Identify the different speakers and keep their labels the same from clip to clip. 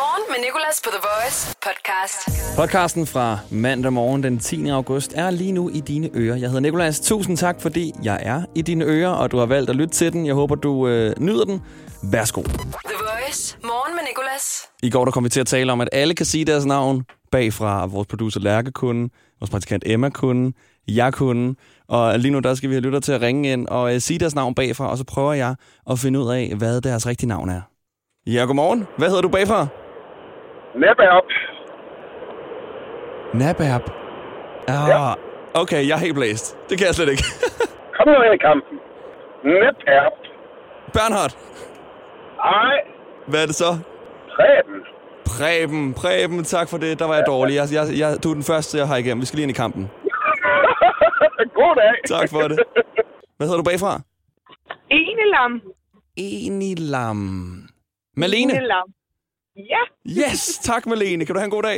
Speaker 1: Morgen med Nicolas på The Voice podcast.
Speaker 2: Podcasten fra mandag morgen den 10. august er lige nu i dine ører. Jeg hedder Nikolas. Tusind tak, fordi jeg er i dine ører, og du har valgt at lytte til den. Jeg håber, du øh, nyder den. Værsgo.
Speaker 1: The Voice. Morgen med Nicolas.
Speaker 2: I går der kom vi til at tale om, at alle kan sige deres navn bagfra. Og Vores producer Lærke kunne, vores praktikant Emma kunne, jeg kunne. Og lige nu der skal vi have lytter til at ringe ind og øh, sige deres navn bagfra, og så prøver jeg at finde ud af, hvad deres rigtige navn er. Ja, godmorgen. Hvad hedder du bagfra?
Speaker 3: Næppe op.
Speaker 2: Nabab. Ah, ja. Okay, jeg er helt blæst. Det kan jeg slet ikke.
Speaker 3: Kom nu ind i kampen. Næppe op.
Speaker 2: Bernhard,
Speaker 3: Ej,
Speaker 2: hvad er det så?
Speaker 3: Preben.
Speaker 2: Preben, Preben, tak for det. Der var jeg dårlig. Jeg, jeg, jeg, du er den første, jeg har igennem. Vi skal lige ind i kampen.
Speaker 3: God dag.
Speaker 2: Tak for det. Hvad hedder du bagfra?
Speaker 4: Enelam.
Speaker 2: Enilam. Malene.
Speaker 4: Enelam. Ja,
Speaker 2: Yes, tak Malene. Kan du have en god dag?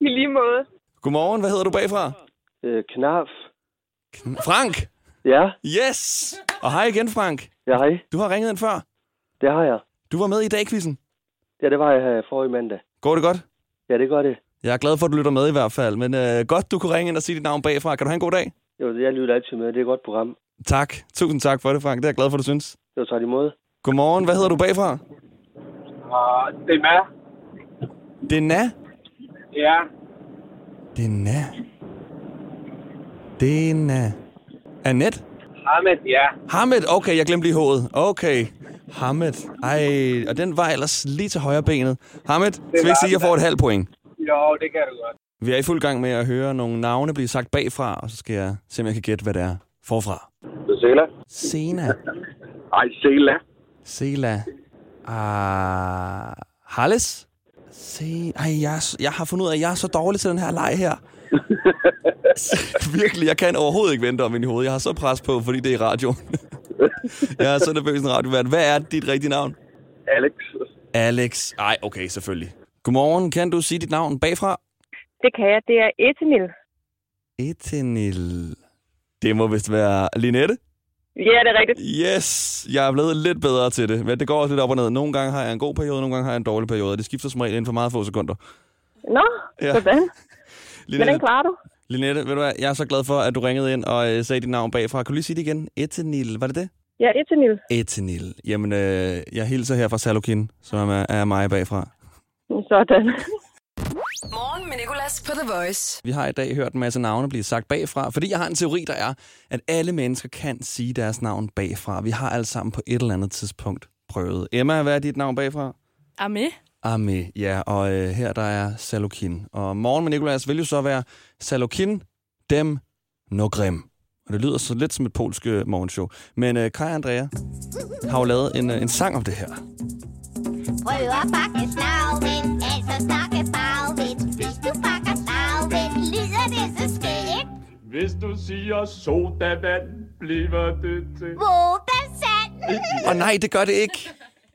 Speaker 4: i lige måde.
Speaker 2: Godmorgen, hvad hedder du bagfra?
Speaker 5: Øh, knaf.
Speaker 2: Frank.
Speaker 5: Ja,
Speaker 2: Yes. Og hej igen, Frank.
Speaker 5: ja hej.
Speaker 2: Du har ringet ind før.
Speaker 5: Det har jeg.
Speaker 2: Du var med i dagquizzen.
Speaker 5: Ja, det var jeg her forrige mandag.
Speaker 2: Går det godt?
Speaker 5: Ja, det gør det.
Speaker 2: Jeg er glad for, at du lytter med i hvert fald, men øh, godt, du kunne ringe ind og sige dit navn bagfra. Kan du have en god dag?
Speaker 5: Jo, jeg lytter altid med. Det er et godt program.
Speaker 2: Tak. Tusind tak for det, Frank. Det er jeg glad for, du synes.
Speaker 5: Det var taget imod.
Speaker 2: Godmorgen. Hvad hedder du bagfra?
Speaker 3: Og det er mig.
Speaker 2: Dena.
Speaker 3: Ja.
Speaker 2: Dena. Dena. Annette?
Speaker 3: Ahmed, ja.
Speaker 2: Hamed. Okay, jeg glemte lige hovedet. Okay. Hamed. Ej, og den var ellers lige til højre benet. Hamed, skal vi
Speaker 3: var
Speaker 2: ikke sige, at jeg
Speaker 3: den
Speaker 2: får et halvt point?
Speaker 3: Jo, det kan du godt.
Speaker 2: Vi er i fuld gang med at høre nogle navne blive sagt bagfra, og så skal jeg se, om jeg kan gætte, hvad det er forfra.
Speaker 3: Sela?
Speaker 2: Sena.
Speaker 3: Ej, Sela.
Speaker 2: Sela. Ah, Halles. Se, ej, jeg, er s- jeg har fundet ud af, at jeg er så dårlig til den her leg her. Virkelig, jeg kan overhovedet ikke vente om ind i hovedet. Jeg har så pres på, fordi det er radio. jeg er så nervøs en radiovært. Hvad er dit rigtige navn?
Speaker 3: Alex.
Speaker 2: Alex. Ej, okay, selvfølgelig. Godmorgen. Kan du sige dit navn bagfra?
Speaker 4: Det kan jeg. Det er Etenil.
Speaker 2: Etenil. Det må vist være Linette.
Speaker 4: Ja, det er rigtigt.
Speaker 2: Yes, jeg er blevet lidt bedre til det. Men det går også lidt op og ned. Nogle gange har jeg en god periode, nogle gange har jeg en dårlig periode. og Det skifter som regel inden for meget få sekunder.
Speaker 4: Nå,
Speaker 2: Ja.
Speaker 4: ja. sådan. Hvordan
Speaker 2: Linette,
Speaker 4: klarer du?
Speaker 2: Linette, ved du hvad, jeg er så glad for, at du ringede ind og øh, sagde dit navn bagfra. Kan du lige sige det igen? Etenil, var det det?
Speaker 4: Ja, Etenil.
Speaker 2: Etenil. Jamen, øh, jeg hilser her fra Salukin, som er, er mig bagfra.
Speaker 4: Sådan.
Speaker 1: Morgen med Nicolas på The Voice.
Speaker 2: Vi har i dag hørt en masse navne blive sagt bagfra, fordi jeg har en teori, der er, at alle mennesker kan sige deres navn bagfra. Vi har alle sammen på et eller andet tidspunkt prøvet. Emma, hvad er dit navn bagfra?
Speaker 6: Amé.
Speaker 2: Ame, ja, og øh, her der er Salokin. Og morgen med Nicolas vil jo så være Salokin, dem, no grim. Og det lyder så lidt som et polsk øh, morgenshow. Men øh, Kai og Andrea har jo lavet en, øh, en sang om det her.
Speaker 7: Prøv at pakke snavlen, altså snakke bagvind. Hvis du pakker snavlen, lyder det så skægt.
Speaker 8: Hvis du siger sodavand, bliver det til...
Speaker 7: Våbe sand.
Speaker 2: Og nej, det gør det ikke.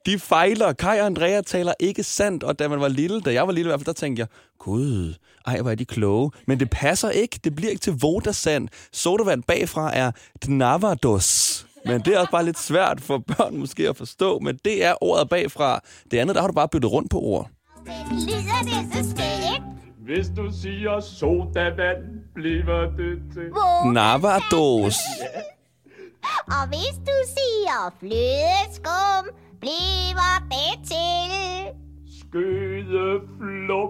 Speaker 2: De fejler. Kai og Andrea taler ikke sandt. Og da man var lille, da jeg var lille i hvert fald, der tænkte jeg, gud, ej, hvor er de kloge. Men det passer ikke. Det bliver ikke til Vodasand. Sodavand bagfra er Dnavados. Men det er også bare lidt svært for børn måske at forstå. Men det er ordet bagfra. Det andet, der har du bare byttet rundt på ord.
Speaker 7: Lyder det så skægt.
Speaker 8: Hvis du siger sodavand, bliver det til...
Speaker 7: Våbe
Speaker 2: Navados.
Speaker 7: Og hvis du siger flødeskum, bliver det til.
Speaker 8: Skødeflum.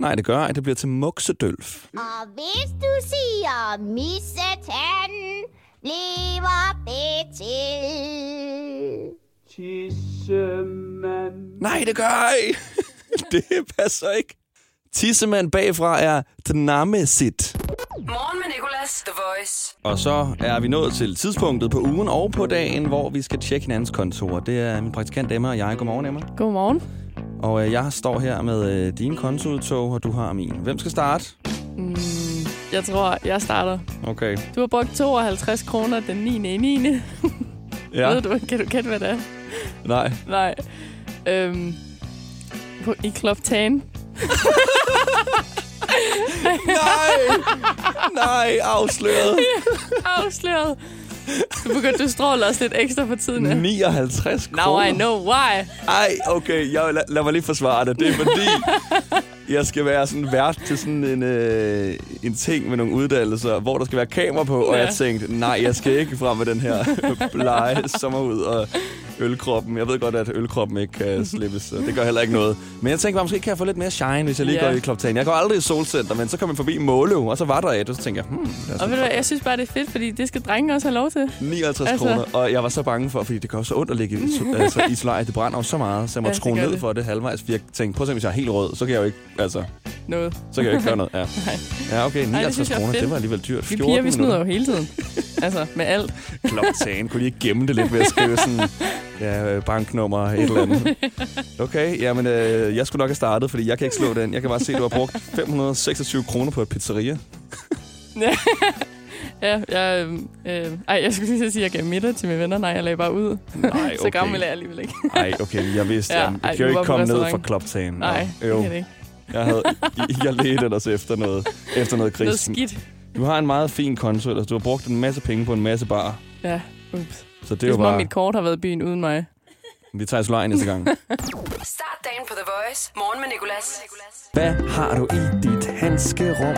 Speaker 2: Nej, det gør ej. Det bliver til muksedølf.
Speaker 7: Og hvis du siger missetand, bliver det til.
Speaker 8: Tissemand.
Speaker 2: Nej, det gør ej. det passer ikke. Tissemand bagfra er Dnamesit.
Speaker 1: Morgen med Nicolas. The Voice.
Speaker 2: Og så er vi nået til tidspunktet på ugen og på dagen, hvor vi skal tjekke hinandens kontor. Det er min praktikant Emma og jeg. Godmorgen, Emma.
Speaker 6: Godmorgen.
Speaker 2: Og øh, jeg står her med øh, din kontoudtog, og du har min. Hvem skal starte?
Speaker 6: Jeg tror, jeg starter.
Speaker 2: Okay.
Speaker 6: Du har brugt 52 kroner den 9. i 9. Ja. Ved du, kan du kende, hvad det er?
Speaker 2: Nej.
Speaker 6: Nej. Øhm, på, I Kloptan.
Speaker 2: Nej! Nej, afsløret.
Speaker 6: Afsløret. Så begyndte du at stråle også lidt ekstra for tiden. af.
Speaker 2: 59 kroner.
Speaker 6: Now I know why.
Speaker 2: Ej, okay, jeg, lad, lad mig lige forsvare det. Det er fordi, jeg skal være sådan vært til sådan en, øh, en ting med nogle uddannelser, hvor der skal være kamera på, og
Speaker 6: Ja.
Speaker 2: jeg tænkte, nej, jeg skal ikke frem med den her blege sommerhud og ølkroppen. Jeg ved godt, at ølkroppen ikke kan slippes, og det gør heller ikke noget. Men jeg tænkte bare, måske kan jeg få lidt mere shine, hvis jeg lige
Speaker 6: Ja.
Speaker 2: går i kloptan. Jeg går aldrig i solcenter, men så kom jeg forbi Måløv, og så var der et, og så tænkte jeg, hmm, lad os
Speaker 6: Og ved du hvad, jeg synes bare, det er fedt, fordi det skal drenge også have lov til.
Speaker 2: 59 altså.
Speaker 6: Altså.
Speaker 2: kroner, og jeg var så bange for, fordi det gør så ondt at ligge i, so- altså, i solariet. Det brænder jo så meget, så jeg måtte
Speaker 6: Ja, det
Speaker 2: skrue
Speaker 6: gør
Speaker 2: ned
Speaker 6: det.
Speaker 2: for det halvvejs. fordi Jeg tænkte, prøv at se, hvis jeg er helt rød, så kan jeg jo ikke, altså,
Speaker 6: Noget.
Speaker 2: så kan jeg jo ikke gøre noget. Ja, ja okay,
Speaker 6: det
Speaker 2: 59
Speaker 6: synes jeg er
Speaker 2: kroner,
Speaker 6: fedt.
Speaker 2: det var alligevel dyrt.
Speaker 6: Vi
Speaker 2: 14
Speaker 6: piger, vi snyder jo
Speaker 2: minutter.
Speaker 6: hele tiden. Altså, med alt.
Speaker 2: Kloptagen, kunne de ikke gemme det lidt ved at skrive sådan, ja, øh, banknummer et eller andet. Okay, jamen, øh, jeg skulle nok have startet, fordi jeg kan ikke slå den. Jeg kan bare se, at du har brugt 526 kroner på et pizzeria.
Speaker 6: Ja, jeg, øhm, øh, ej, jeg skulle lige til at sige, at jeg gav middag til mine venner. Nej, jeg lagde bare ud.
Speaker 2: Nej,
Speaker 6: Så gammel er jeg alligevel ikke.
Speaker 2: Nej, okay, jeg vidste,
Speaker 6: Ja,
Speaker 2: ja, jeg
Speaker 6: ej,
Speaker 2: kan jo
Speaker 6: du var
Speaker 2: ikke
Speaker 6: på
Speaker 2: komme ned fra
Speaker 6: restaurant.
Speaker 2: kloptagen.
Speaker 6: Nej,
Speaker 2: Nå,
Speaker 6: det kan det ikke.
Speaker 2: Jeg, havde, jeg ledte ellers efter noget, efter noget
Speaker 6: Noget
Speaker 2: krisen.
Speaker 6: skidt.
Speaker 2: du har en meget fin konto, ellers du har brugt en masse penge på en masse bar.
Speaker 6: Ja, ups.
Speaker 2: Så det
Speaker 6: Det
Speaker 2: er
Speaker 6: er
Speaker 2: jo
Speaker 6: som om,
Speaker 2: bare...
Speaker 6: mit kort har været i byen uden mig.
Speaker 2: Vi tager solariet næste gang.
Speaker 1: Start dagen på The Voice. Morgen med Nicolas.
Speaker 2: Hvad har du i dit handskerum?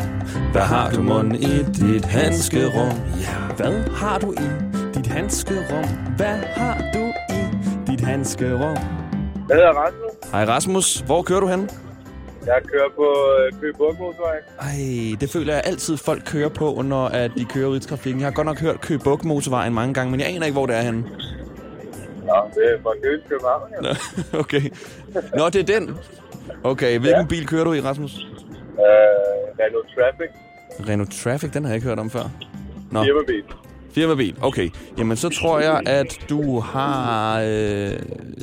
Speaker 2: Hvad har du mon i dit handskerum? Ja. Hvad har du i dit handskerum? Hvad har du i dit handskerum?
Speaker 3: Jeg hedder Rasmus.
Speaker 2: Hej Rasmus, hvor kører du hen?
Speaker 3: Jeg kører på øh, Køge Bugt Motorvejen.
Speaker 2: Ej, det føler jeg altid, folk kører på, når at de kører ud i trafikken. Jeg har godt nok hørt Køge Bugt motorvejen mange gange, men jeg aner ikke, hvor det er henne.
Speaker 3: Nå, det er fra Køge til København. Ja.
Speaker 2: Okay. Nå, det er den. Okay, hvilken ja. bil kører du i, Rasmus?
Speaker 3: Øh, Renault Traffic.
Speaker 2: Renault Traffic, den har jeg ikke hørt om før. Nå,
Speaker 3: Firmabil.
Speaker 2: firmabil. Okay, jamen så tror jeg, at du har, øh,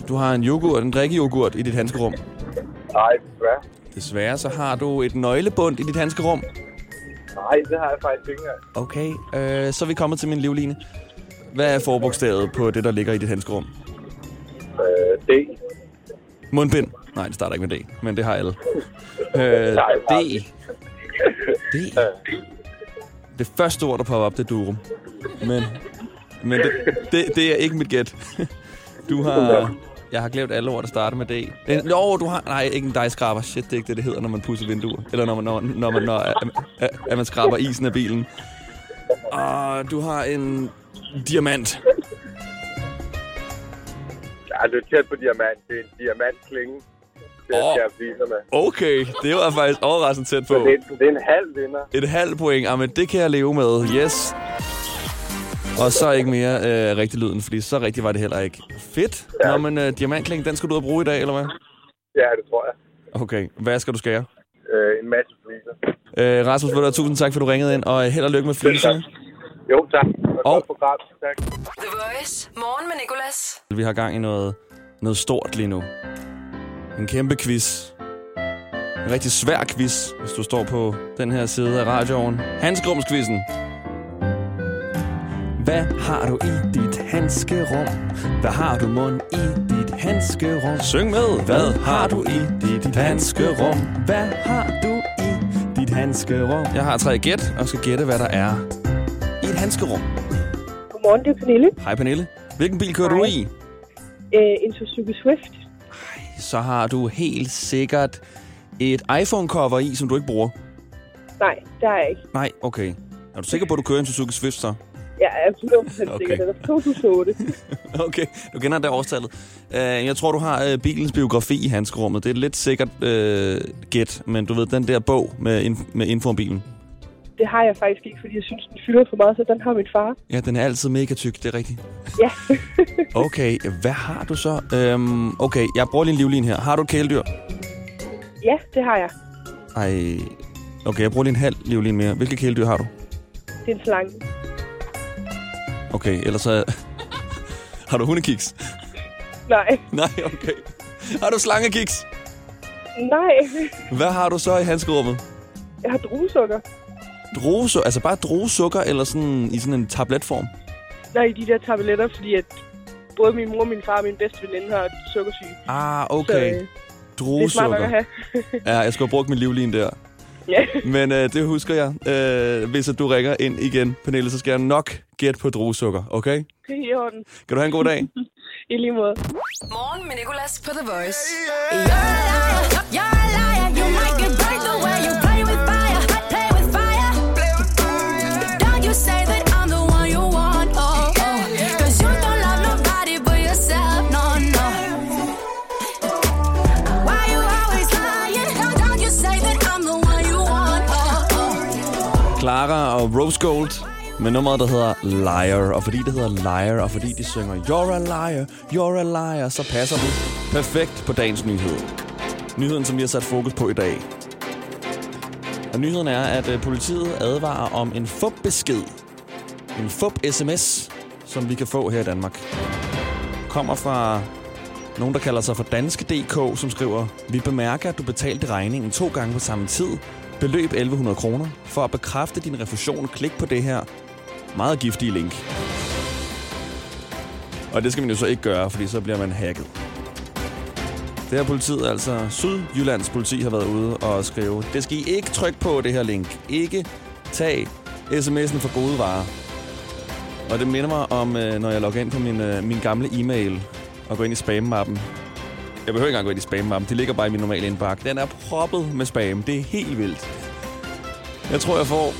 Speaker 2: du har en yoghurt, en drikkejoghurt i dit handskerum.
Speaker 3: Nej, hvad?
Speaker 2: Desværre så har du et nøglebund i dit handskerum.
Speaker 3: Nej, det har jeg faktisk ikke engang.
Speaker 2: Okay, øh, så er vi kommet til min livline. Hvad er forbogstavet på det, der ligger i dit handskerum?
Speaker 3: Øh, D.
Speaker 2: Mundbind. Nej, det starter ikke med D, men det har alle. Øh,
Speaker 3: Nej,
Speaker 2: D.
Speaker 3: nej.
Speaker 2: D. Det første ord, der popper op, det er durum. Men, men det, det, det er ikke mit gæt. Du har... Jeg har glemt alle ord, der starter med D. Øh, Nå, du har... Nej, ikke en dejskraber. Shit, det er ikke det, det hedder, når man pudser vinduer. Eller når man, når, når man, når, at, at- at man skraber isen af bilen. Og du har en diamant.
Speaker 3: Ja, det er tæt på diamant. Det er en diamantklinge. Det
Speaker 2: Åh.
Speaker 3: skal jeg vise med.
Speaker 2: Okay, det var faktisk overraskende tæt på.
Speaker 3: Det er, en- det er en halv vinder.
Speaker 2: Et halvt point, ah, men det kan jeg leve med. Yes. Og så ikke mere øh, rigtig lyden, fordi så rigtig var det heller ikke. Fedt. Nå, men øh, diamantkling, den skal du ud og bruge i dag, eller hvad?
Speaker 3: Ja, det tror jeg.
Speaker 2: Okay, hvad skal du skære?
Speaker 3: Øh, en masse fliser.
Speaker 2: Øh, Rasmus, ved du, hvad, tusind tak, for du ringede ind, og øh, held og lykke med fliserne.
Speaker 3: Jo, tak. Og
Speaker 2: Og-
Speaker 3: godt program. Tak.
Speaker 1: The Voice. Morgen med Nicolas.
Speaker 2: Vi har gang i noget, noget stort lige nu. En kæmpe quiz. En rigtig svær quiz, hvis du står på den her side af radioen. Handskerumsquizzen. Hvad har du i dit handskerum? Hvad har du mund i dit handskerum? Syng med! Hvad har du i dit handskerum? Hvad har du i dit handskerum? Jeg har tre gæt, og skal gætte, hvad der er i et handskerum.
Speaker 4: Godmorgen, det er Pernille.
Speaker 2: Hej Pernille. Hvilken bil kører du
Speaker 4: Hej.
Speaker 2: i?
Speaker 4: Øh, en Suzuki Swift.
Speaker 2: så har du helt sikkert et iPhone-cover i, som du ikke bruger.
Speaker 4: Nej, der er jeg ikke.
Speaker 2: Nej, okay. Er du sikker på, at du kører en Suzuki Swift så?
Speaker 4: Jeg er 100%
Speaker 2: Okay.
Speaker 4: sikker. Den er fra 2008.
Speaker 2: Okay, du kender det årstallet. Uh, jeg tror, du har uh, bilens biografi i handskerummet. Det er et lidt sikkert uh, gæt, men du ved, den der bog med, in- med info om bilen.
Speaker 4: Det har jeg faktisk ikke, fordi jeg synes, den fylder for meget, så den har min far.
Speaker 2: Ja, den er altid mega tyk, det er rigtigt.
Speaker 4: Ja,
Speaker 2: Okay, hvad har du så? Øhm, okay, jeg bruger lige en livlin her. Har du et kæledyr?
Speaker 4: ja det har jeg.
Speaker 2: Ej, okay, jeg bruger lige en halv livlin mere. Hvilke kæledyr har du?
Speaker 4: Det er en slange.
Speaker 2: Okay, ellers så... har du hundekiks?
Speaker 4: Nej,
Speaker 2: Nej, okay. Har du slangekiks?
Speaker 4: nej.
Speaker 2: Hvad har du så i handskerummet?
Speaker 4: Jeg har druesukker.
Speaker 2: Druesukker, altså bare druesukker eller sådan i sådan en tabletform?
Speaker 4: Nej, de der tabletter, fordi at både min mor, min far og min bedste veninde har sukkersyge.
Speaker 2: Ah,
Speaker 4: Så
Speaker 2: okay.
Speaker 4: øh, det er smart nok
Speaker 2: Druesukker.
Speaker 4: at have.
Speaker 2: Ja, jeg skulle have brugt min livlin der.
Speaker 4: Ja.
Speaker 2: Men øh, det husker jeg. Øh, hvis at du ringer ind igen, Pernille, så skal jeg nok gætte på druesukker, okay?
Speaker 4: Det er i orden.
Speaker 2: Kan du have en god dag?
Speaker 4: I lige måde.
Speaker 1: Morgen med Nicolas på The Voice.
Speaker 2: Clara og Rose Gold med nummeret, der hedder Liar. Og fordi det hedder Liar, og fordi de synger You're a liar, you're a liar, så passer det perfekt på dagens nyhed. Nyheden, som vi har sat fokus på i dag. Og nyheden er, at øh, politiet advarer om en fup-besked. En fup-sms, som vi kan få her i Danmark. Kommer fra nogen, der kalder sig for Danske.dk, som skriver, Vi bemærker, at du betalte regningen to gange på samme tid. Beløb 1100 kroner. For at bekræfte din refusion, klik på det her meget giftige link. Og det skal man jo så ikke gøre, fordi så bliver man hacket. Det her politiet, altså Sydjyllands politi, har været ude og skrive, det skal I ikke trykke på, det her link. Ikke tag sms'en for gode varer. Og det minder mig om, øh, når jeg logger ind på min, øh, min gamle e-mail og går ind i spam-mappen. Jeg behøver ikke engang gå ind i spam-mappen. Det ligger bare i min normale indbakke. Den er proppet med spam. Det er helt vildt. Jeg tror, jeg får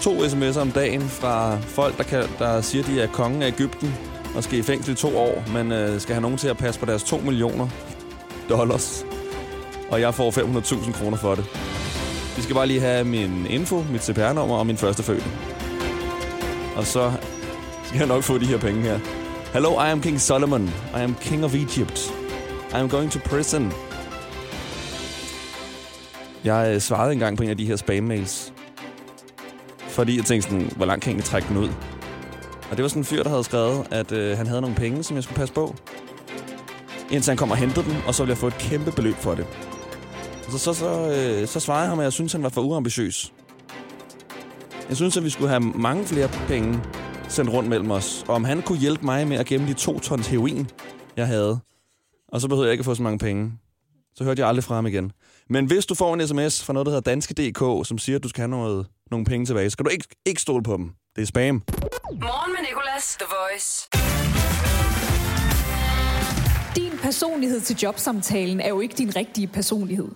Speaker 2: to sms'er om dagen fra folk, der, kan, der siger, de er kongen af Ægypten og skal i fængsel i to år, men øh, skal have nogen til at passe på deres 2 millioner dollars. Og jeg får 500.000 kroner for det. De skal bare lige have min info, mit CPR-nummer og min første fødte. Og så skal jeg nok få de her penge her. Hello, I am King Solomon. I am king of Egypt. I am going to prison. Jeg øh, svarede engang på en af de her spam-mails. Fordi jeg tænkte sådan, hvor langt kan jeg egentlig trække den ud? Og det var sådan en fyr, der havde skrevet, at øh, han havde nogle penge, som jeg skulle passe på. Indtil han kom og hentede dem, og så ville jeg få et kæmpe beløb for det. Og Så, så, så, øh, så svarede jeg ham, at jeg synes han var for uambitiøs. Jeg synes, at vi skulle have mange flere penge sendt rundt mellem os. Og om han kunne hjælpe mig med at gemme de to tons heroin, jeg havde. Og så behøvede jeg ikke at få så mange penge. Så hørte jeg aldrig fra ham igen. Men hvis du får en sms fra noget, der hedder Danske.dk, som siger, at du skal have noget, nogle penge tilbage, så skal du ikke, ikke stole på dem. Det er spam.
Speaker 1: Morgen med Nicolas, The Voice.
Speaker 9: Din personlighed til jobsamtalen er jo ikke din rigtige personlighed.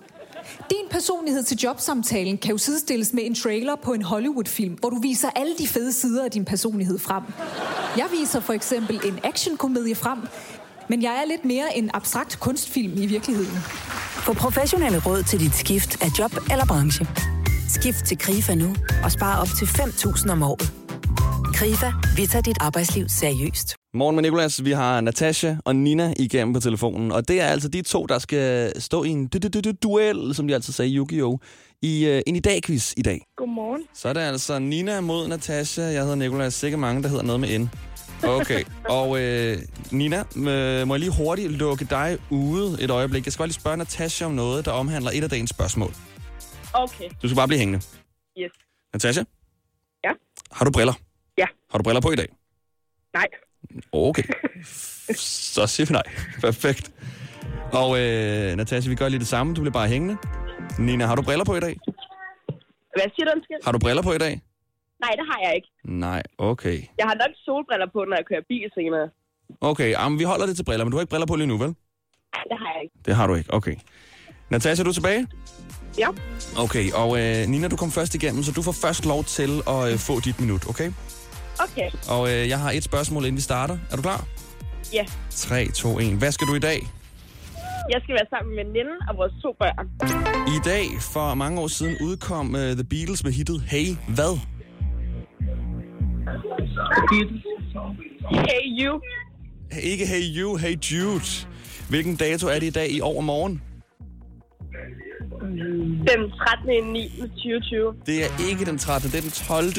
Speaker 9: Din personlighed til jobsamtalen kan jo sidestilles med en trailer på en Hollywood-film, hvor du viser alle de fede sider af din personlighed frem. Jeg viser for eksempel en actionkomedie frem, men jeg er lidt mere en abstrakt kunstfilm i virkeligheden.
Speaker 10: Få professionelle råd til dit skift af job eller branche. Skift til KRIFA nu og spar op til 5.000 om året. KRIFA, vi tager dit arbejdsliv seriøst.
Speaker 2: Morgen med Nicolas. Vi har Natasha og Nina igennem på telefonen. Og det er altså de to, der skal stå i en du- du- du- du- duel, som de altid sagde i Yu-Gi-Oh! I øh, en i dag-quiz i dag.
Speaker 4: Godmorgen.
Speaker 2: Så er det altså Nina mod Natasha. Jeg hedder Nicolas. Sikke mange, der hedder noget med N. Okay. Og øh, Nina, øh, må jeg lige hurtigt lukke dig ude et øjeblik? Jeg skal bare lige spørge Natasha om noget, der omhandler et af dagens spørgsmål.
Speaker 4: Okay.
Speaker 2: Du skal bare blive hængende.
Speaker 4: Yes.
Speaker 2: Natasha?
Speaker 4: Ja?
Speaker 2: Har du briller?
Speaker 4: Ja.
Speaker 2: Har du briller på i dag?
Speaker 4: Nej.
Speaker 2: Okay. Så siger vi nej. Perfekt. Og øh, Natasha, vi gør lige det samme. Du bliver bare hængende. Nina, har du briller på i dag?
Speaker 4: Hvad siger du, undskyld?
Speaker 2: Har du briller på i dag?
Speaker 4: Nej, det har jeg ikke.
Speaker 2: Nej, okay.
Speaker 4: Jeg har nok solbriller på, når jeg kører bil senere.
Speaker 2: Okay, jamen, vi holder det til briller, men du har ikke briller på lige nu, vel?
Speaker 4: Nej, det har jeg ikke.
Speaker 2: Det har du ikke, okay. Natasha, er du tilbage?
Speaker 4: Ja.
Speaker 2: Okay, og øh, Nina, du kom først igennem, så du får først lov til at øh, få dit minut, okay?
Speaker 4: Okay.
Speaker 2: Og øh, jeg har et spørgsmål, inden vi starter. Er du klar?
Speaker 4: Ja.
Speaker 2: 3, 2, 1. Hvad skal du i dag?
Speaker 4: Jeg skal være sammen med en veninde og vores to børn.
Speaker 2: I dag, for mange år siden, udkom øh, The Beatles med hittet Hey, hvad?
Speaker 4: Hey, you.
Speaker 2: Ikke Hey You, Hey Jude. Hvilken dato er det i dag i overmorgen?
Speaker 4: Den 13. 9. 2020.
Speaker 2: Det er ikke den 13, det er den 12.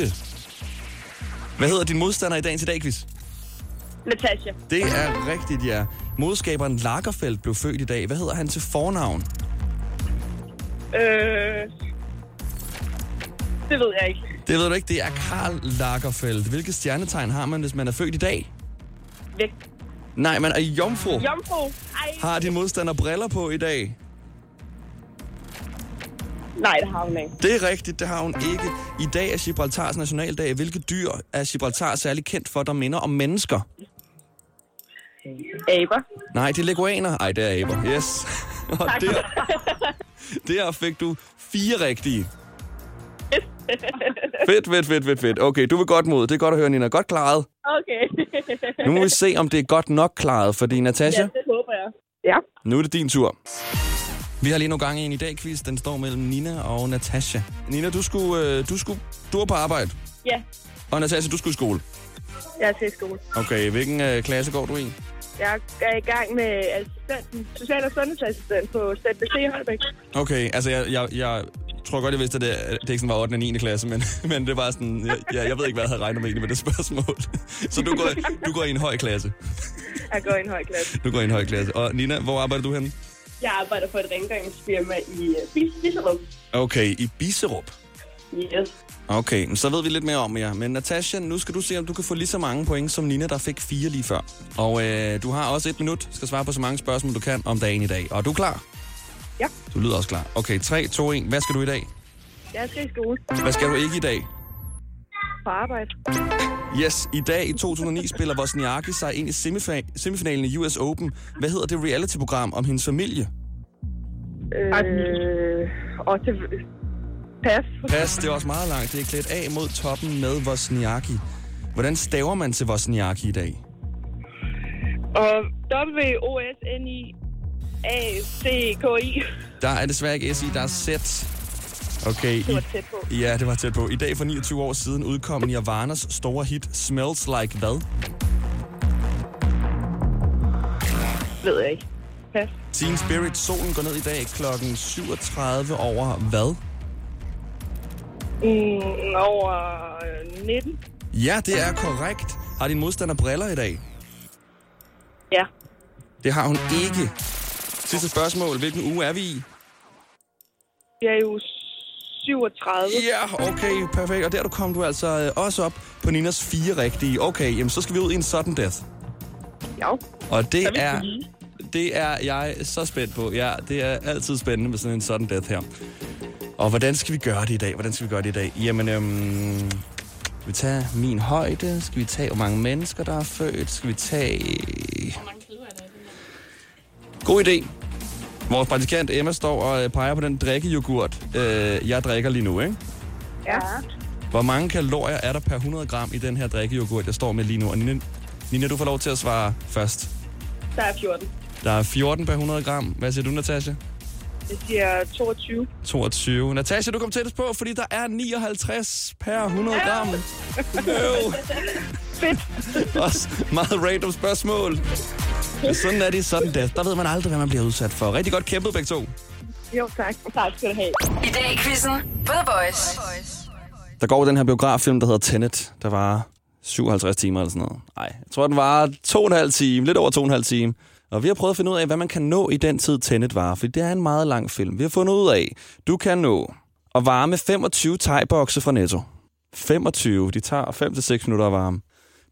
Speaker 2: Hvad hedder din modstander i dagens i dag, quiz?
Speaker 4: Natasha.
Speaker 2: Det er rigtigt, ja. Modskaberen Lagerfeldt blev født i dag. Hvad hedder han til fornavn?
Speaker 4: Øh... Det ved jeg ikke.
Speaker 2: Det ved du ikke, det er Karl Lagerfeldt. Hvilket stjernetegn har man, hvis man er født i dag?
Speaker 4: Væk.
Speaker 2: Nej, man er jomfru.
Speaker 4: Jomfru. Ej.
Speaker 2: Har din modstander briller på i dag?
Speaker 4: Nej, det har hun ikke.
Speaker 2: Det er rigtigt, det har hun ikke. I dag er Gibraltars nationaldag. Hvilke dyr er Gibraltar særlig kendt for, der minder om mennesker?
Speaker 4: Aber.
Speaker 2: Nej, det er leguaner. Ej, det er aber. Yes. Og der, der fik du fire rigtige. fedt, fedt, fedt, fedt, fedt. Okay, du vil godt mod. Det er godt at høre, Nina. Godt klaret.
Speaker 4: Okay.
Speaker 2: Nu må vi se, om det er godt nok klaret, fordi Natasha,
Speaker 4: det håber jeg. Ja.
Speaker 2: nu er det din tur. Vi har lige nogle gange en i dag quiz. Den står mellem Nina og Natasha. Nina, du skulle, øh, du skulle, du var på arbejde,
Speaker 4: Ja.
Speaker 2: og Natasha, du skulle i skole.
Speaker 4: Jeg er til skole.
Speaker 2: Okay, hvilken øh, klasse går du i?
Speaker 4: Jeg er i gang med assistenten, social- og sundhedsassistent på ZBC i Holbæk.
Speaker 2: Okay, altså jeg, jeg, jeg tror godt, jeg vidste, at det, at det ikke sådan var 8. og 9. klasse, men, men det var sådan, jeg, jeg, jeg ved ikke, hvad jeg havde regnet med egentlig med det spørgsmål. Så du går, du går i en høj klasse.
Speaker 4: Jeg går i en høj klasse.
Speaker 2: Du går i en høj klasse. Og Nina, hvor arbejder du henne?
Speaker 4: Jeg arbejder for et rengøringsfirma i øh, Bisserup.
Speaker 2: Okay, i Biserup.
Speaker 4: Yes.
Speaker 2: Okay, men så ved vi lidt mere om jer. Men Natasha, nu skal du se, om du kan få lige så mange point som Nina, der fik fire lige før. Og øh, du har også et minut, skal svare på så mange spørgsmål, du kan om dagen i dag. Og er du klar?
Speaker 4: Ja.
Speaker 2: Du lyder også klar. Okay, 3, 2, 1. Hvad skal du i dag?
Speaker 4: Jeg skal i skole
Speaker 2: Hvad skal du ikke i dag?
Speaker 4: på arbejde.
Speaker 2: Yes, i dag i 2009 spiller Wozniacki sig ind i semifina- semifinalen i US Open. Hvad hedder det reality-program om hendes familie?
Speaker 4: Øh, og til... Pas.
Speaker 2: Pas, det er også meget langt. Det er klædt af mod toppen med Wozniacki. Hvordan staver man til Wozniacki i dag?
Speaker 4: Og W-O-S-N-I-A-C-K-I.
Speaker 2: Der er desværre ikke SI, der er Z. Okay. Det
Speaker 4: var tæt på.
Speaker 2: Ja, det var tæt på. I dag for 29 år siden udkom Nirvanas store hit Smells Like hvad?
Speaker 4: Ved jeg ikke. Pas.
Speaker 2: Teen Spirit, solen går ned i dag klokken 37 over hvad?
Speaker 4: Mm, over øh, 19.
Speaker 2: Ja, det er korrekt. Har din modstander briller i dag?
Speaker 4: Ja.
Speaker 2: Det har hun ikke. Sidste spørgsmål. Hvilken uge er vi i?
Speaker 4: Jeg er jo 37.
Speaker 2: Ja, okay, perfekt. Og der du kom du altså øh, også op på Ninas fire rigtige. Okay, jamen så skal vi ud i en sudden death.
Speaker 4: Ja.
Speaker 2: Og det er, det er jeg så spændt på. Ja, det er altid spændende med sådan en sudden death her. Og hvordan skal vi gøre det i dag? Hvordan skal vi gøre det i dag? Jamen, øhm, skal vi tage min højde? Skal vi tage, hvor mange mennesker, der er født? Skal vi tage... God idé. Vores praktikant Emma står og øh, peger på den drikkejoghurt, øh, jeg drikker lige nu, ikke?
Speaker 4: Ja.
Speaker 2: Hvor mange kalorier er der per 100 gram i den her drikkejoghurt, jeg står med lige nu? Og Nina, Nina du får lov til at svare først.
Speaker 4: Der er 14.
Speaker 2: Der er 14 per 100 gram. Hvad siger du, Natasha?
Speaker 4: Jeg siger 22.
Speaker 2: 22. Natasha, du kom tættest på, fordi der er 59 per 100 gram. Øv.
Speaker 4: Fedt.
Speaker 2: Også meget random spørgsmål. Men Sådan er det sådan der. Der ved man aldrig, hvad man bliver udsat for. Rigtig godt kæmpet begge to.
Speaker 4: Jo, tak. Tak skal du have.
Speaker 1: I dag i quizzen på The Voice.
Speaker 2: Der går den her biograffilm, der hedder Tenet, der var 57 timer eller sådan noget. Nej, jeg tror, den var to og en halv time, lidt over to og en halv time. Og vi har prøvet at finde ud af, hvad man kan nå i den tid, Tenet var, for det er en meget lang film. Vi har fundet ud af, du kan nå at varme 25 tegbokse fra Netto. 25, de tager 5 til 6 minutter at varme.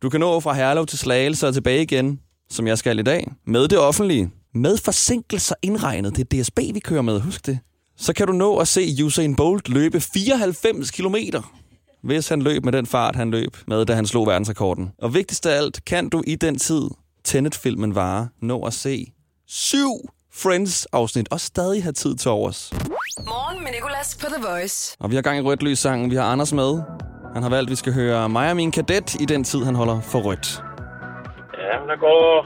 Speaker 2: Du kan nå fra Herlev til Slagelse og tilbage igen, som jeg skal i dag, med det offentlige. Med forsinkelser indregnet, det er DSB, vi kører med, husk det. Så kan du nå at se Usain Bolt løbe 94 kilometer hvis han løb med den fart, han løb med, da han slog verdensrekorden. Og vigtigst af alt, kan du i den tid, Tenet-filmen varer, nå at se syv Friends-afsnit, og stadig have tid til overs.
Speaker 1: Morgen med Nicolas på The Voice.
Speaker 2: Og vi har gang i rødt lys sangen. Vi har Anders med. Han har valgt, at vi skal høre mig og min kadet i den tid, han holder for rødt.
Speaker 3: Ja, men der går...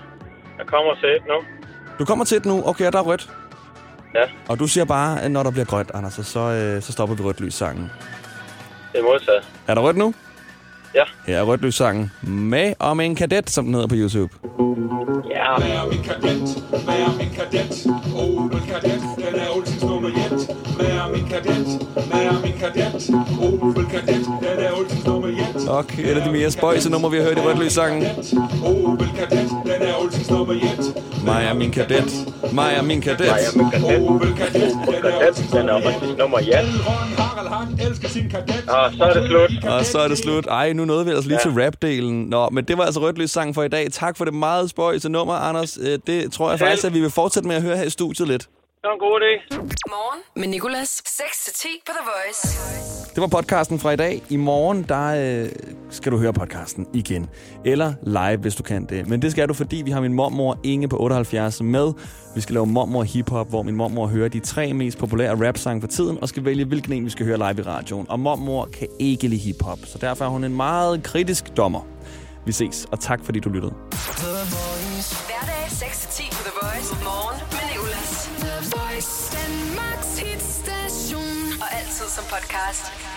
Speaker 3: Der kommer sæt nu.
Speaker 2: Du kommer til det nu. Okay, og der er rødt.
Speaker 3: Ja.
Speaker 2: Og du siger bare, at når der bliver grønt, Anders, og så, øh, så stopper vi rødt lys sangen.
Speaker 3: Det er modsat.
Speaker 2: Er der rødt nu?
Speaker 3: Ja.
Speaker 2: Her er rødt lys sangen med om en kadet, som den hedder på YouTube.
Speaker 3: Ja,
Speaker 8: Hvad er min kadet? Hvad er min kadet? Opel kadet, den er Olsens nummer et. Hvad er min kadet? Hvad er min kadet? Opel kadet, den er Olsens nummer et.
Speaker 2: Ok, et af de mere spøjse numre, vi har hørt i Rødt Lys sangen.
Speaker 8: Opel kadet, den er Olsens nummer et.
Speaker 2: Mig er min kadet. Mig er min kadet.
Speaker 8: Opel kadet, den er Olsens
Speaker 3: den
Speaker 8: nummer
Speaker 3: er
Speaker 8: et.
Speaker 3: rigtig nummer ja.
Speaker 8: Ron Harald, han elsker sin kadet.
Speaker 3: Og så er det slut.
Speaker 2: Og så er det slut. Ej, nu nåede vi altså lige ja. til rapdelen. Nå, men det var altså Rødt Lys sangen for i dag. Tak for det meget spøjse nummer, Anders. Øh, Det tror jeg faktisk, at vi vil fortsætte med at høre her i studiet lidt.
Speaker 3: Det var en god idé.
Speaker 1: Morgen med Nicolas. 6 til 10 på The Voice.
Speaker 2: Det var podcasten fra i dag. I morgen, der øh, skal du høre podcasten igen. Eller live, hvis du kan det. Men det skal du, fordi vi har min mormor Inge på 78 med. Vi skal lave mormor hiphop, hvor min mormor hører de tre mest populære rap-sange for tiden, og skal vælge, hvilken en vi skal høre live i radioen. Og mormor kan ikke lide hiphop, så derfor er hun en meget kritisk dommer. Vi ses, og tak fordi du lyttede.
Speaker 1: Hverdag 6 til 10 på The Voice. Morgen med Nicolas. The Voice. Danmarks hitstation. Og altid som podcast.